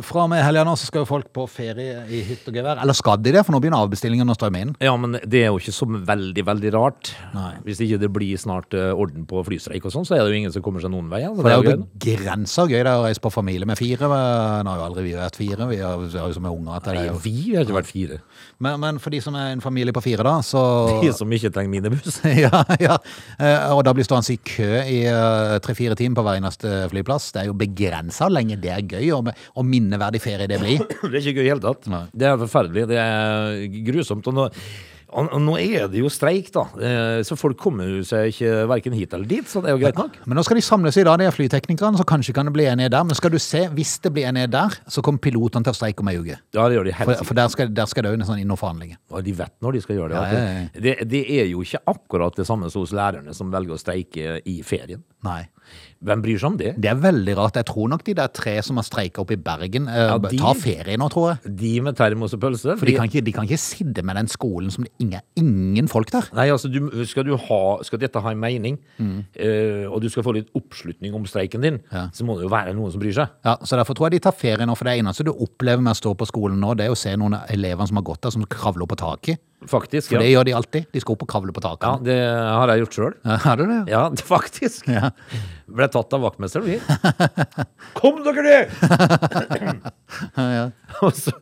Speaker 1: Fra og med helga nå så skal jo folk på ferie i hytt og gevær. Eller skal de det? For nå begynner avbestillingene å strømme inn.
Speaker 3: Ja, men det er jo ikke så veldig, veldig rart.
Speaker 1: Nei.
Speaker 3: Hvis ikke det blir snart eh, orden på flystreik og sånn, så er det jo ingen som kommer seg noen vei. Altså,
Speaker 1: For
Speaker 3: det
Speaker 1: det er
Speaker 3: er jo
Speaker 1: jo
Speaker 3: greit.
Speaker 1: begrensa gøy det er å reise på familie med fire. men Nå har jo aldri vi vært fire. Vi har vi har jo så mye unger at det er
Speaker 3: Nei,
Speaker 1: jo
Speaker 3: vi har ikke vært fire.
Speaker 1: men, men for de som er en familie på fire, da, så
Speaker 3: De som ikke trenger minibuss.
Speaker 1: ja, ja. Eh, Og da blir stående i kø i eh, tre-fire timer på hver eneste eh, flyplass. Det er jo begrensa hvor lenge det er gøy, og, og minneverdig ferie det blir.
Speaker 3: Det er ikke gøy i hele tatt. Det er forferdelig. Det er grusomt. Og nå, og og nå er det jo streik, da. Eh, Så folk kommer jo seg ikke verken hit eller dit, så det er jo greit nok.
Speaker 1: Men nå skal de samles i dag, de er flyteknikerne, så kanskje kan det bli enighet der. Men skal du se, hvis det blir enighet der, så kommer pilotene til å streike om ei uke.
Speaker 3: Ja, det gjør de helt
Speaker 1: For,
Speaker 3: sikkert.
Speaker 1: for der skal, der skal det òg sånn inn noen forhandlinger.
Speaker 3: Og de vet når de skal gjøre det.
Speaker 1: Ja,
Speaker 3: at
Speaker 1: ja, ja.
Speaker 3: Det, det er jo ikke akkurat det samme som hos lærerne som velger å streike i ferien.
Speaker 1: Nei.
Speaker 3: Hvem bryr seg om det?
Speaker 1: Det er veldig rart. Jeg tror nok de der tre som har streika oppe i Bergen, eh,
Speaker 3: Ja, de-
Speaker 1: tar ferie nå, tror jeg.
Speaker 3: De med termos og pølse?
Speaker 1: For de kan ikke, de kan ikke sitte med den skolen som det ingen, ingen folk der.
Speaker 3: Nei, altså, du, skal, du ha, skal dette ha en mening,
Speaker 1: Mm.
Speaker 3: eh, og du skal få litt oppslutning om streiken din, så må det jo være noen som bryr seg.
Speaker 1: Ja, så Derfor tror jeg de tar ferie nå, for det eneste du opplever med å stå på skolen nå, det er å se noen av elevene som har gått der, som kravler på taket.
Speaker 3: Faktisk.
Speaker 1: For det
Speaker 3: Ja.
Speaker 1: gjør de alltid. De skal opp og kavle på
Speaker 3: ja,
Speaker 1: takene.
Speaker 3: det har jeg gjort sjøl.
Speaker 1: Ja. Er det det?
Speaker 3: Ja, det- faktisk.
Speaker 1: Ja.
Speaker 3: Ble tatt av vaktmesteren, vi. Kom dere ned! Og så-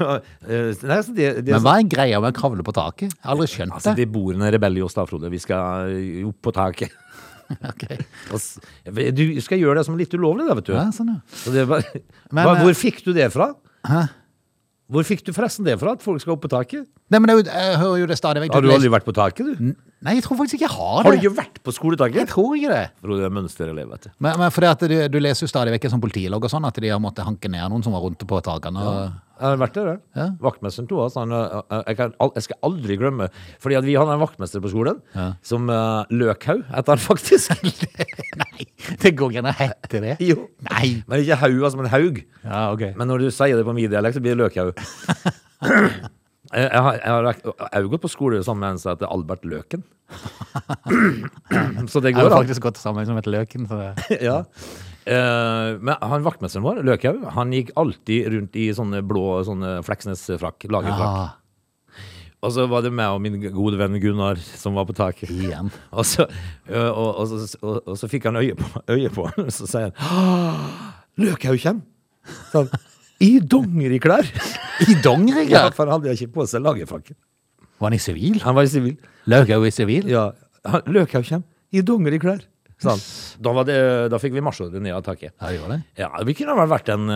Speaker 3: Eh, Nei, altså, det, det,
Speaker 1: Men hva er greia med å kavle på taket? Jeg har aldri skjønt
Speaker 3: altså,
Speaker 1: det.
Speaker 3: det bor en rebell i oss, da, Frode. Vi skal eh, opp på taket.
Speaker 1: Ok.
Speaker 3: Og s- Du skal gjøre det som litt ulovlig, da, vet du.
Speaker 1: Ja, sånn, ja.
Speaker 3: Så det var,
Speaker 1: Men,
Speaker 3: hva,
Speaker 1: eh,
Speaker 3: hvor fikk du det fra? Hvor fikk du forresten det fra, at folk skal opp på taket?
Speaker 1: Nei, men det, er jo- jeg hører jo det stadig vekk.
Speaker 3: Har du
Speaker 1: leser-
Speaker 3: aldri vært på taket, du?
Speaker 1: Nei, jeg tror faktisk ikke jeg har det.
Speaker 3: Har du ikke vært på
Speaker 1: Jeg
Speaker 3: skoletaket?
Speaker 1: tror ikke det.
Speaker 3: Frode er mønsterelev, vet du.
Speaker 1: Men, men fordi at du, du leser jo stadig vekk en sånn politilogg og sånn, at de har måttet hanke ned noen som var rundt på takene. Og,
Speaker 3: Jeg har vært der, jeg.
Speaker 1: Ja.
Speaker 3: Vaktmesteren tok oss. Han, eh, jeg, kan, al- jeg skal aldri glemme Fordi at vi hadde en vaktmester på skolen som uh, Løkhaug het han faktisk.
Speaker 1: Nei, det går ikke an å hette det.
Speaker 3: jo.
Speaker 1: Nei.
Speaker 3: Men ikke Haug, altså, men Haug.
Speaker 1: Ja, ok.
Speaker 3: Men når du sier det på min dialekt, så blir det Løkhaug. Jeg jeg har, jeg, har, vært- jeg har jo gått på skole sammen med en som heter Albert Løken. Så det
Speaker 1: jeg
Speaker 3: går
Speaker 1: har
Speaker 3: an.
Speaker 1: faktisk gått sammen som et løken. Så det.
Speaker 3: ja. Eh, men han vaktmesteren vår, Løkhaug, han gikk alltid rundt i sånne blå sånne Fleksnes-frakk, lagerfrakk.
Speaker 1: Ah,
Speaker 3: Og så var det meg og min gode venn Gunnar som var på taket.
Speaker 1: igjen.
Speaker 3: Og så, eh, og, og, så- og, og så fikk han øye på, øye på han, og så sier han «Ah, Løkhaug kjem! Sånn, I dongeriklær!
Speaker 1: I Dongeriga?
Speaker 3: Ja, for han hadde ikke på seg lagerfrakken.
Speaker 1: Var han i sivil?
Speaker 3: Han var i sivil.
Speaker 1: Løkhaug i sivil?
Speaker 3: Ja, han- Løkhaug kjem! I dongeriklær! Sånn. Da, var det- da fikk vi marsjordre ned av taket.
Speaker 1: Ja, det gjorde det.
Speaker 3: Ja, vi kunne vel vært en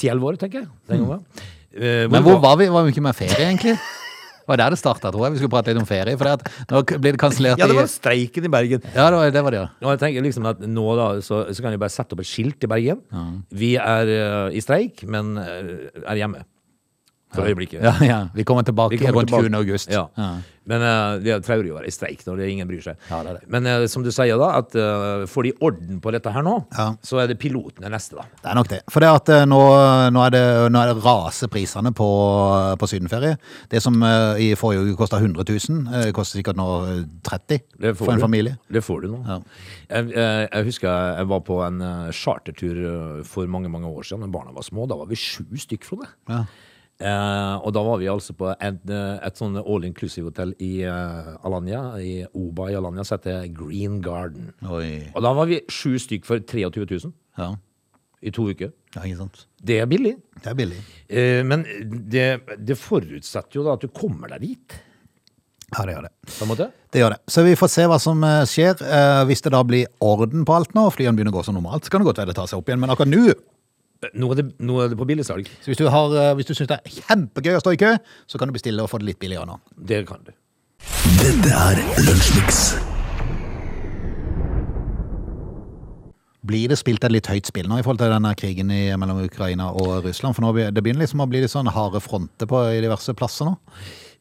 Speaker 3: ti-elleve år, tenker jeg. Den gangen. Eh,
Speaker 1: Men hvor var vi? Var vi ikke med ferie, egentlig? Det var der det starta, tror jeg. Vi skulle prate litt om ferie. For det at nå k- blir det kansellert
Speaker 3: Ja, det var
Speaker 1: i
Speaker 3: streiken i Bergen.
Speaker 1: Ja, det var det. Var det ja.
Speaker 3: Og jeg tenker liksom at nå da, så, så kan jeg bare sette opp et skilt i Bergen. Vi er eh, i streik, men eh, er hjemme. For øyeblikket.
Speaker 1: Ja, ja. Vi kommer tilbake
Speaker 3: Vi kommer
Speaker 1: rundt
Speaker 3: tilbake.
Speaker 1: 20. august.
Speaker 3: Ja. Men eh, det er traurig å være i streik når det ingen bryr seg.
Speaker 1: Ja, det er det.
Speaker 3: Men eh, som du sier, da, at eh, får de orden på dette her nå,
Speaker 1: Ja.
Speaker 3: så er det piloten er neste, da.
Speaker 1: Det er nok det. For det at eh, nå, nå, er det, nå er det raser prisene på, på sydenferie. Det som eh, i forrige uke kosta 100 000, eh, koster sikkert nå eh, 30
Speaker 3: Det får
Speaker 1: for en
Speaker 3: du.
Speaker 1: familie.
Speaker 3: Det får du nå.
Speaker 1: Ja.
Speaker 3: Jeg, jeg, jeg husker jeg var på en eh, chartertur eh, for mange mange år siden da barna var små. Da var vi sju stykk, Frode.
Speaker 1: Ja.
Speaker 3: Eh, og da var vi altså på en, eh, et sånn all inclusive-hotell i eh, Alanya. I Oba i Alanya som heter Green Garden.
Speaker 1: Oi.
Speaker 3: Og da var vi sju stykk for 23 000
Speaker 1: Ja.
Speaker 3: i to uker.
Speaker 1: ja, ikke sant.
Speaker 3: Det er billig.
Speaker 1: Det er billig.
Speaker 3: Eh, men det, det forutsetter jo da at du kommer deg dit,
Speaker 1: Ja, det gjør det.
Speaker 3: på en måte.
Speaker 1: Det gjør det. Så vi får se hva som eh, skjer. Eh, Hvis det da blir orden på alt nå, og flyene begynner å gå som normalt, så kan det godt være det tar seg opp igjen. Men akkurat nå
Speaker 3: Eh, Nå er det, nå er det på billigsalg.
Speaker 1: så hvis du, har, eh, hvis du syns det er kjempegøy å stå i kø, så kan du bestille og få det litt billigere nå.
Speaker 3: Det kan du.
Speaker 2: Dette er Lunsjmix.
Speaker 1: Blir det spilt et litt høyt spill nå i forhold til denne krigen i, mellom Ukraina og Russland? For nå be- det begynner liksom å bli litt sånn harde fronter på, i diverse plasser nå.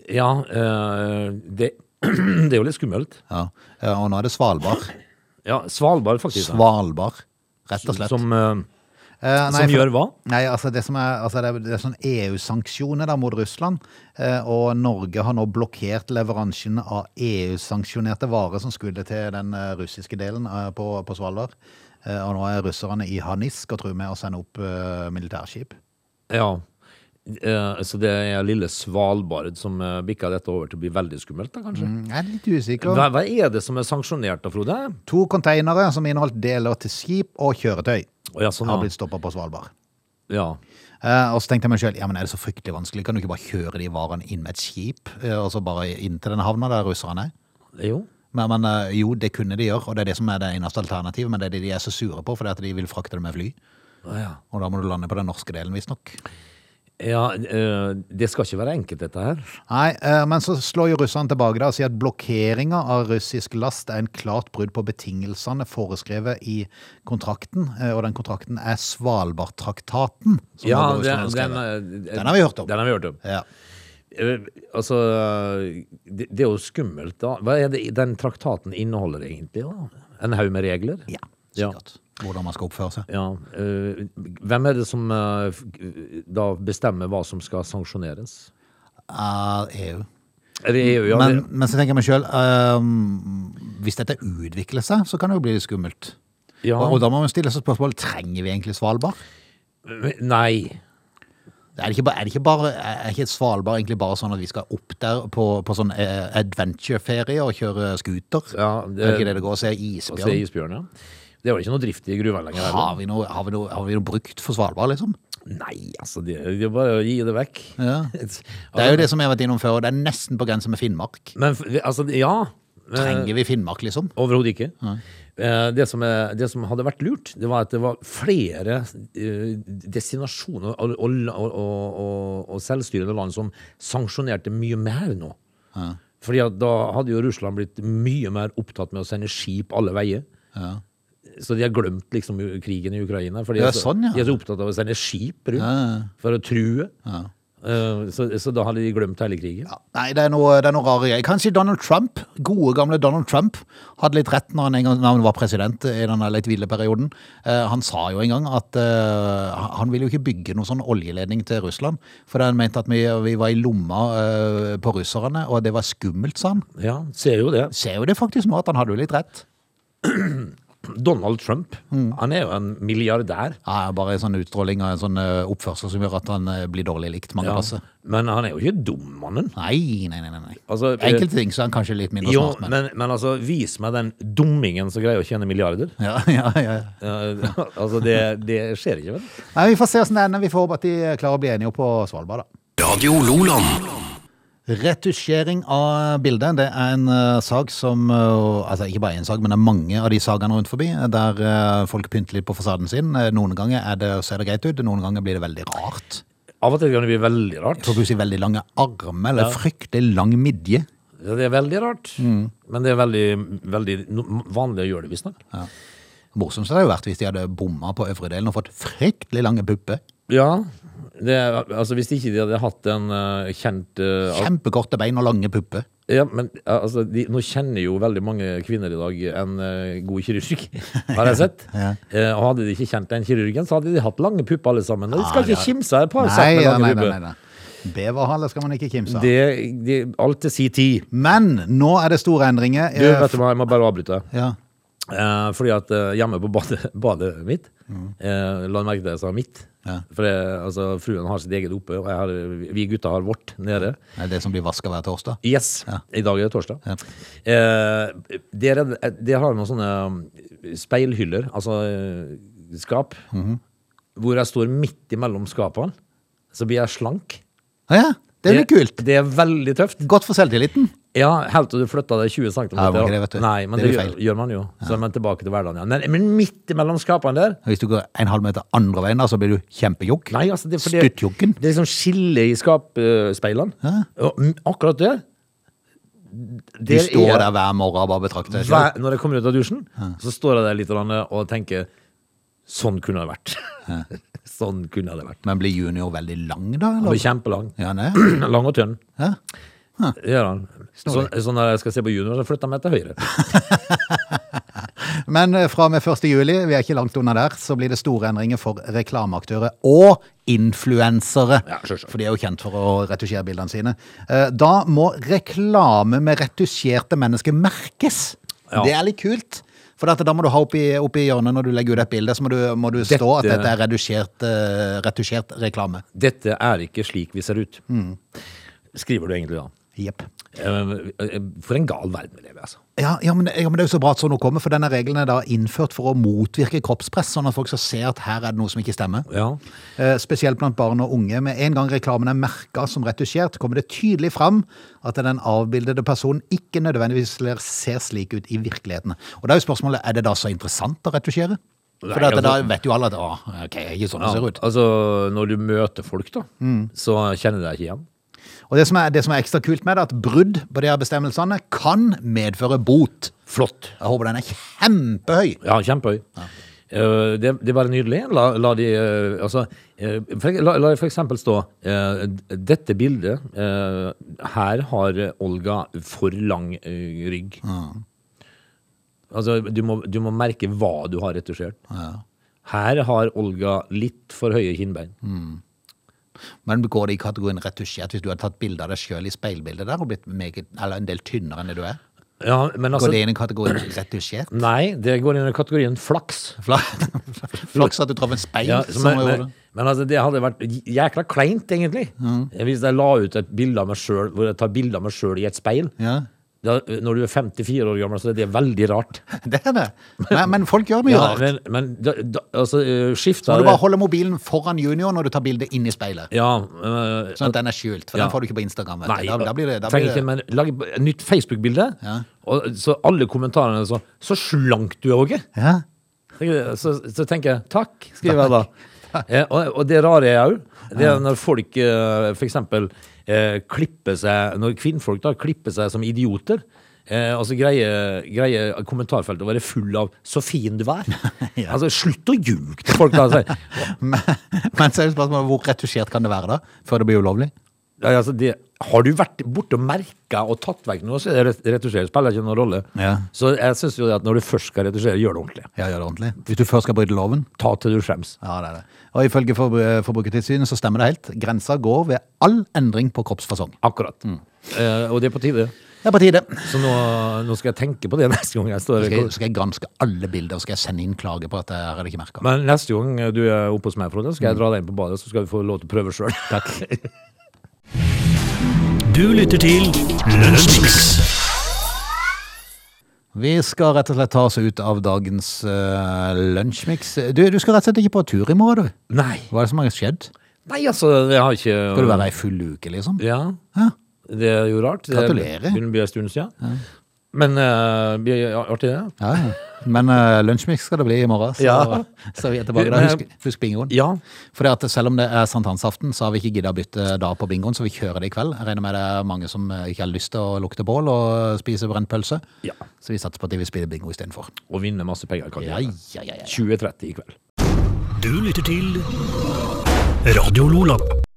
Speaker 3: Ja, eh, det, det er jo litt skummelt.
Speaker 1: Ja. Eh, Og nå er det Svalbard.
Speaker 3: Ja, Svalbard, faktisk. da.
Speaker 1: Svalbard, rett og slett.
Speaker 3: Som, eh,
Speaker 1: Eh,
Speaker 3: som gjør hva?
Speaker 1: Nei, altså det som er, altså det er, det er sånn EU-sanksjoner da mot Russland, eh, og Norge har nå blokkert leveransen av EU-sanksjonerte varer som skulle til den eh, russiske delen eh, på, på Svalbard. Eh, og nå er russerne i harnisk og truer med å sende opp eh, militærskip.
Speaker 3: Ja. Eh, så det er lille Svalbard som eh, bikker dette over til å bli veldig skummelt, da, kanskje.
Speaker 1: Mm, Jeg er litt usikker.
Speaker 3: Hva, hva er det som er sanksjonert da, Frode?
Speaker 1: To konteinere som inneholdt deler til skip og kjøretøy
Speaker 3: Å, ja, sånn,
Speaker 1: har
Speaker 3: ja.
Speaker 1: blitt stoppa på Svalbard.
Speaker 3: ja.
Speaker 1: Eh, og så tenkte jeg meg sjøl ja, men er det så fryktelig vanskelig, kan du ikke bare kjøre de varene inn med et skip, eh, og så bare inn til den havna der russerne er?
Speaker 3: Jo.
Speaker 1: Men, men eh, jo, det kunne de gjøre, og det er det som er det eneste alternativet, men det er det de er så sure på, fordi at de vil frakte det med fly.
Speaker 3: Å, ja.
Speaker 1: Og da må du lande på den norske delen, visstnok.
Speaker 3: ja eh, det skal ikke være enkelt, dette her.
Speaker 1: Nei, eh, men så slår jo russerne tilbake da og sier at blokkeringa av russisk last er en klart brudd på betingelsene foreskrevet i kontrakten, eh, og den kontrakten er Svalbardtraktaten. som
Speaker 3: Ja,
Speaker 1: Norge og
Speaker 3: den,
Speaker 1: Russland har
Speaker 3: den,
Speaker 1: skrevet.
Speaker 3: eh,
Speaker 1: Den har vi hørt om.
Speaker 3: Den har vi hørt om.
Speaker 1: Ja.
Speaker 3: Eh, altså, det, det er jo skummelt, da. Hva er det den traktaten inneholder egentlig? da? En haug med regler?
Speaker 1: ja, sikkert. Hvordan man skal oppføre seg.
Speaker 3: Ja, eh, hvem er det som eh, f- da bestemmer hva som skal sanksjoneres?
Speaker 1: Er EU.
Speaker 3: Er det EU, ja?
Speaker 1: Men,
Speaker 3: det-
Speaker 1: men så tenker jeg meg sjøl, hvis dette utvikler seg, så kan det jo bli litt skummelt.
Speaker 3: ja.
Speaker 1: Og, og da må man stille seg spørsmålet trenger vi egentlig Svalbard.
Speaker 3: Nei.
Speaker 1: Er det ikke bare, er det ikke bare er ikke Svalbard egentlig bare sånn at vi skal opp der på, på sånn eh, adventure-ferie og kjøre scooter?
Speaker 3: Ja,
Speaker 1: det,
Speaker 3: det-
Speaker 1: er det ikke det det går? Se
Speaker 3: Og se
Speaker 1: isbjørn.
Speaker 3: isbjørn, ja. Det var ikke noe drift i gruva lenger. heller.
Speaker 1: Har vi, noe, har, vi noe, har vi noe brukt for Svalbard, liksom?
Speaker 3: Nei, altså, det det er bare å gi det vekk. Altså,
Speaker 1: Ja. Det er jo det som jeg har vært innom før, og det er nesten på grense med Finnmark.
Speaker 3: Men f- altså, ja. men-
Speaker 1: Trenger vi Finnmark, liksom?
Speaker 3: Overhodet ikke. Eh, Det som, er, det som hadde vært lurt, det var at det var flere eh, destinasjoner og, og, og, og, og selvstyrende land som sanksjonerte mye mer nå. Fordi at da hadde jo Russland blitt mye mer opptatt med å sende skip alle veier. Så de har glemt liksom u- krigen i Ukraina. For de,
Speaker 1: Ja,
Speaker 3: er så-
Speaker 1: sånn, ja.
Speaker 3: de er så opptatt av å sende skip rundt for å true. Eh, Så, så da hadde de glemt hele krigen.
Speaker 1: Ja. Nei, det er noe, det er noe rare greier. Kanskje Donald Trump, gode gamle Donald Trump, hadde litt rett når han, en gang, når han var president i den der litt ville perioden. Eh, han sa jo en gang at eh, han ville jo ikke bygge noen sånn oljeledning til Russland, for han mente at vi, vi var i lomma eh, på russerne, og det var skummelt, sa han.
Speaker 3: Ja, ser jo det.
Speaker 1: Ser jo det faktisk nå at han hadde jo litt rett.
Speaker 3: Donald Trump,
Speaker 1: Mm.
Speaker 3: han er jo en milliardær.
Speaker 1: Ja, bare en sånn utstråling og en sånn eh, oppførsel som gjør at han eh, blir dårlig likt mange
Speaker 3: Ja.
Speaker 1: plasser.
Speaker 3: Men han er jo ikke dum, mannen.
Speaker 1: Nei, nei, nei, nei, nei.
Speaker 3: Altså, eh,
Speaker 1: Enkelte ting så er han kanskje litt mindre
Speaker 3: Jo,
Speaker 1: smart, men...
Speaker 3: men, men altså, vis meg den dummingen som greier å tjene milliarder.
Speaker 1: Ja, ja, ja. ja.
Speaker 3: Eh, altså, det, det skjer ikke, vel?
Speaker 1: Nei, Vi får se hvordan det ender. Vi får håpe at de eh, klarer å bli enige på Svalbard, da.
Speaker 2: Radio Loland.
Speaker 1: Retusjering av bildet det er en eh, sak som eh, Altså ikke bare en sak, men det er mange av de sakene rundt forbi eh, der eh, folk pynter litt på fasaden sin. Eh, Noen ganger er det, ser det greit ut, noen ganger blir det veldig rart.
Speaker 3: Av og til kan det bli veldig rart.
Speaker 1: Får plutselig veldig lange armer eller fryktelig lang midje.
Speaker 3: Ja, Det er veldig rart, men det er veldig, veldig no- vanlig å gjøre det, visstnok.
Speaker 1: Morsomst hadde det jo vært hvis de hadde bomma på øvre delen og fått fryktelig lange pupper.
Speaker 3: Ja, det, er- altså hvis ikke de hadde hatt en eh, kjent eh, al-
Speaker 1: Kjempekorte bein og lange pupper.
Speaker 3: Ja, men eh, altså, de, nå kjenner jo veldig mange kvinner i dag en eh, god kirurg, har jeg sett. Eh, og hadde de ikke kjent den kirurgen, så hadde de hatt lange pupper alle sammen. Og de
Speaker 1: Ah,
Speaker 3: skal
Speaker 1: Ja,
Speaker 3: ikke
Speaker 1: ja.
Speaker 3: kimse av et par sett
Speaker 1: Nei,
Speaker 3: med
Speaker 1: ja,
Speaker 3: lange
Speaker 1: nei, nei,
Speaker 3: pupper.
Speaker 1: nei, nei. Beverhale skal man ikke kimse av.
Speaker 3: Det, det, alt til si tid.
Speaker 1: Men nå er det store endringer.
Speaker 3: Du,
Speaker 1: Eh,
Speaker 3: vet du hva, jeg må bare avbryte.
Speaker 1: ja.
Speaker 3: Eh, fordi at eh, hjemme på badet, badet mitt eh, La du merke til at jeg sa mitt?
Speaker 1: Mm. Ja.
Speaker 3: For det, altså, fruen har sitt eget oppe, og jeg har, vi gutta har vårt nede.
Speaker 1: Det er det som blir vaska hver torsdag.
Speaker 3: Yes. I dag er det torsdag.
Speaker 1: Ja.
Speaker 3: Eh, dere, dere har noen sånne um, speilhyller, altså eh, skap,
Speaker 1: Mhm.
Speaker 3: hvor jeg står midt imellom skapene. Så blir jeg slank.
Speaker 1: Ah, ja, det er litt kult.
Speaker 3: Det er veldig tøft.
Speaker 1: Godt for selvtilliten.
Speaker 3: Ja, helt til du flytta deg 20 cm.
Speaker 1: Ja, det var ikke det, vet du.
Speaker 3: Nei, men
Speaker 1: Det
Speaker 3: det,
Speaker 1: blir
Speaker 3: gjør,
Speaker 1: feil.
Speaker 3: gjør man jo. Så er man tilbake til hverdagen igjen. Men, men midt imellom skapene der
Speaker 1: Hvis du går en halv meter andre veien, da, så blir du kjempejokk.
Speaker 3: Nei, altså det, er fordi-
Speaker 1: Stuttjokken.
Speaker 3: Det er liksom skille i skapspeilene. Og mm, akkurat det
Speaker 1: Du
Speaker 3: det
Speaker 1: står
Speaker 3: er-
Speaker 1: der hver morgen og bare betrakter deg selv.
Speaker 3: hver, Når jeg kommer ut av dusjen, så står jeg der litt grann og tenker Sånn kunne det vært. sånn kunne det vært.
Speaker 1: Men blir junior veldig lang, da?
Speaker 3: Han blir
Speaker 1: Eller?
Speaker 3: kjempelang.
Speaker 1: Ja, nei.
Speaker 3: Lang og tynn.
Speaker 1: Ja.
Speaker 3: Det gjør han. Så, så når jeg skal se på junior, så flytter jeg meg til høyre.
Speaker 1: Men eh, fra og med 1. juli, vi er ikke langt unna der, så blir det store endringer for reklameaktører og influensere.
Speaker 3: Ja, selvsagt.
Speaker 1: for de er jo kjent for å retusjere bildene sine. Eh, Da må reklame med retusjerte mennesker merkes.
Speaker 3: Ja.
Speaker 1: Det er litt kult. For dette, da må du ha oppi, oppi hjørnet når du legger ut et bilde, så må du, må du stå at
Speaker 3: Dette-
Speaker 1: dette er retusjert, eh, retusjert reklame.
Speaker 3: Dette er ikke slik vi ser ut.
Speaker 1: Mm.
Speaker 3: Skriver du egentlig da.
Speaker 1: Jepp.
Speaker 3: Eh, For en gal verden vi lever i, altså.
Speaker 1: Ja, ja, men, ja, men det er jo så bra at sånn noe kommer, for denne regelen er da innført for å motvirke kroppspress, sånn at folk skal se at her er det noe som ikke stemmer.
Speaker 3: Ja.
Speaker 1: Eh, Spesielt blant barn og unge. Med en gang reklamen er merka som retusjert, kommer det tydelig fram at den avbildede personen ikke nødvendigvis ler- ser slik ut i virkeligheten. Og da er jo spørsmålet er det da så interessant å retusjere? For
Speaker 3: Nei,
Speaker 1: at da
Speaker 3: altså-
Speaker 1: vet jo alle at å, ok, jeg er ikke sånn
Speaker 3: ja.
Speaker 1: det ser ut. Mm.
Speaker 3: Altså, når du møter folk, da, så kjenner de deg ikke igjen.
Speaker 1: Og det som, er, det som er ekstra kult med det, er at brudd på de her bestemmelsene kan medføre bot.
Speaker 3: Flott.
Speaker 1: Jeg håper den er kjempehøy.
Speaker 3: Ja, kjempehøy. Eh, det, det er bare nydelig. La, la de eh, altså, eh, for, la, la de for eksempel stå eh, d- Dette bildet eh, Her har Olga for lang eh, rygg. Altså, du må, du må merke hva du har retusjert. Her har Olga litt for høye kinnbein.
Speaker 1: Men går det i kategorien retusjert hvis du hadde tatt bilde av deg sjøl i speilbildet der og blitt meget, eller en del tynnere enn det du er?
Speaker 3: Ja, men altså
Speaker 1: Går det inn i kategorien retusjert?
Speaker 3: Nei, det går inn i kategorien flaks.
Speaker 1: Fla- Flaks at du traff en speil.
Speaker 3: Ja,
Speaker 1: som
Speaker 3: men,
Speaker 1: gjorde
Speaker 3: men,
Speaker 1: det.
Speaker 3: Men altså, det hadde vært jækla kleint, egentlig. Hvis jeg la ut et bilde av meg sjøl hvor jeg tar bilde av meg sjøl i et speil.
Speaker 1: Ja.
Speaker 3: Da, når du er 54 år gammel, så er det veldig rart.
Speaker 1: Det er det. Men, men folk gjør mye rart.
Speaker 3: men men da, da, altså, eh, skifta
Speaker 1: Må du
Speaker 3: det-
Speaker 1: bare holde mobilen foran junior når du tar bildet inn i speilet.
Speaker 3: Ja. eh,
Speaker 1: Sånn at den er skjult, for
Speaker 3: Ja.
Speaker 1: den får du ikke på Instagram. Vet
Speaker 3: Nei,
Speaker 1: du. Da, da blir det, da
Speaker 3: trenger
Speaker 1: blir det.
Speaker 3: ikke, men lag et nytt Facebook-bilde.
Speaker 1: Ja.
Speaker 3: Og Så alle kommentarene er sånn Så slank du er, Åge!
Speaker 1: Ja.
Speaker 3: Så, så tenker jeg takk, skriver jeg da. Eh, og, og det rare er òg, det er når folk eh, for eksempel eh, klipper seg Når kvinnfolk da klipper seg som idioter. Eh, og så greier, greier kommentarfeltet å være full av 'så fin du er'.
Speaker 1: Ja.
Speaker 3: Altså, slutt å ljuge til folk, da. Altså,
Speaker 1: Men, men så er det spørsmålet hvor retusjert kan det være da, før det blir ulovlig?
Speaker 3: Ja, altså det, har du vært borte og merka og tatt vekk noe, så er det retusjere spiller ikke noen rolle.
Speaker 1: Ja.
Speaker 3: Så jeg syns jo det at når du først skal retusjere, gjør det ordentlig.
Speaker 1: Ja, gjør det ordentlig. Hvis du først skal bryte loven?
Speaker 3: Ta til du skjems.
Speaker 1: Ja, det er det. Og ifølge Forbru- Forbrukertilsynet så stemmer det helt. Grensa går ved all endring på kroppsfasong.
Speaker 3: Akkurat.
Speaker 1: Mm.
Speaker 3: Eh, og det er på tide.
Speaker 1: Det er på tide.
Speaker 3: Så nå, nå skal jeg tenke på det neste gang jeg
Speaker 1: Så
Speaker 3: står
Speaker 1: skal jeg, så skal jeg granske alle bilder og skal jeg sende inn klage på at jeg har det ikke merka.
Speaker 3: Men neste gang du er oppe hos meg, Frode,
Speaker 1: Mm.
Speaker 3: skal jeg dra deg inn på badet, så skal vi få lov til å prøve sjøl. Takk.
Speaker 4: Du lytter til Lunsjmix.
Speaker 1: Vi skal rett og slett ta oss ut av dagens uh, lunsjmiks. Du, du skal rett og slett ikke på tur i morgen, du.
Speaker 3: Nei.
Speaker 1: Hva er det som har skjedd?
Speaker 3: Nei, altså, jeg har ikke
Speaker 1: Skal du være ei full uke, liksom?
Speaker 3: Ja.
Speaker 1: Hæ?
Speaker 3: Det er jo rart. Det
Speaker 1: Gratulerer.
Speaker 3: begynner å bli en stund siden. Men eh, blir artig, det.
Speaker 1: Ja, ja. Men uh, lunsjmix skal det bli i morgen, så,
Speaker 3: Ja.
Speaker 1: så vi er tilbake da.
Speaker 3: Men-
Speaker 1: Husk, husk bingoen.
Speaker 3: Ja.
Speaker 1: Fordi at selv om det er sankthansaften, så har vi ikke giddet å bytte dag på bingoen, så vi kjører det i kveld. Jeg regner med det er mange som eh, ikke har lyst til å lukte bål og spise brent pølse.
Speaker 3: Ja.
Speaker 1: Så vi satser på at vi spiller bingo istedenfor.
Speaker 3: Og vinne masse penger. kan du
Speaker 1: Ja,
Speaker 3: gjøre.
Speaker 1: ja, ja, ja.
Speaker 3: 20.30 i kveld.
Speaker 4: Du lytter til Radio Lola.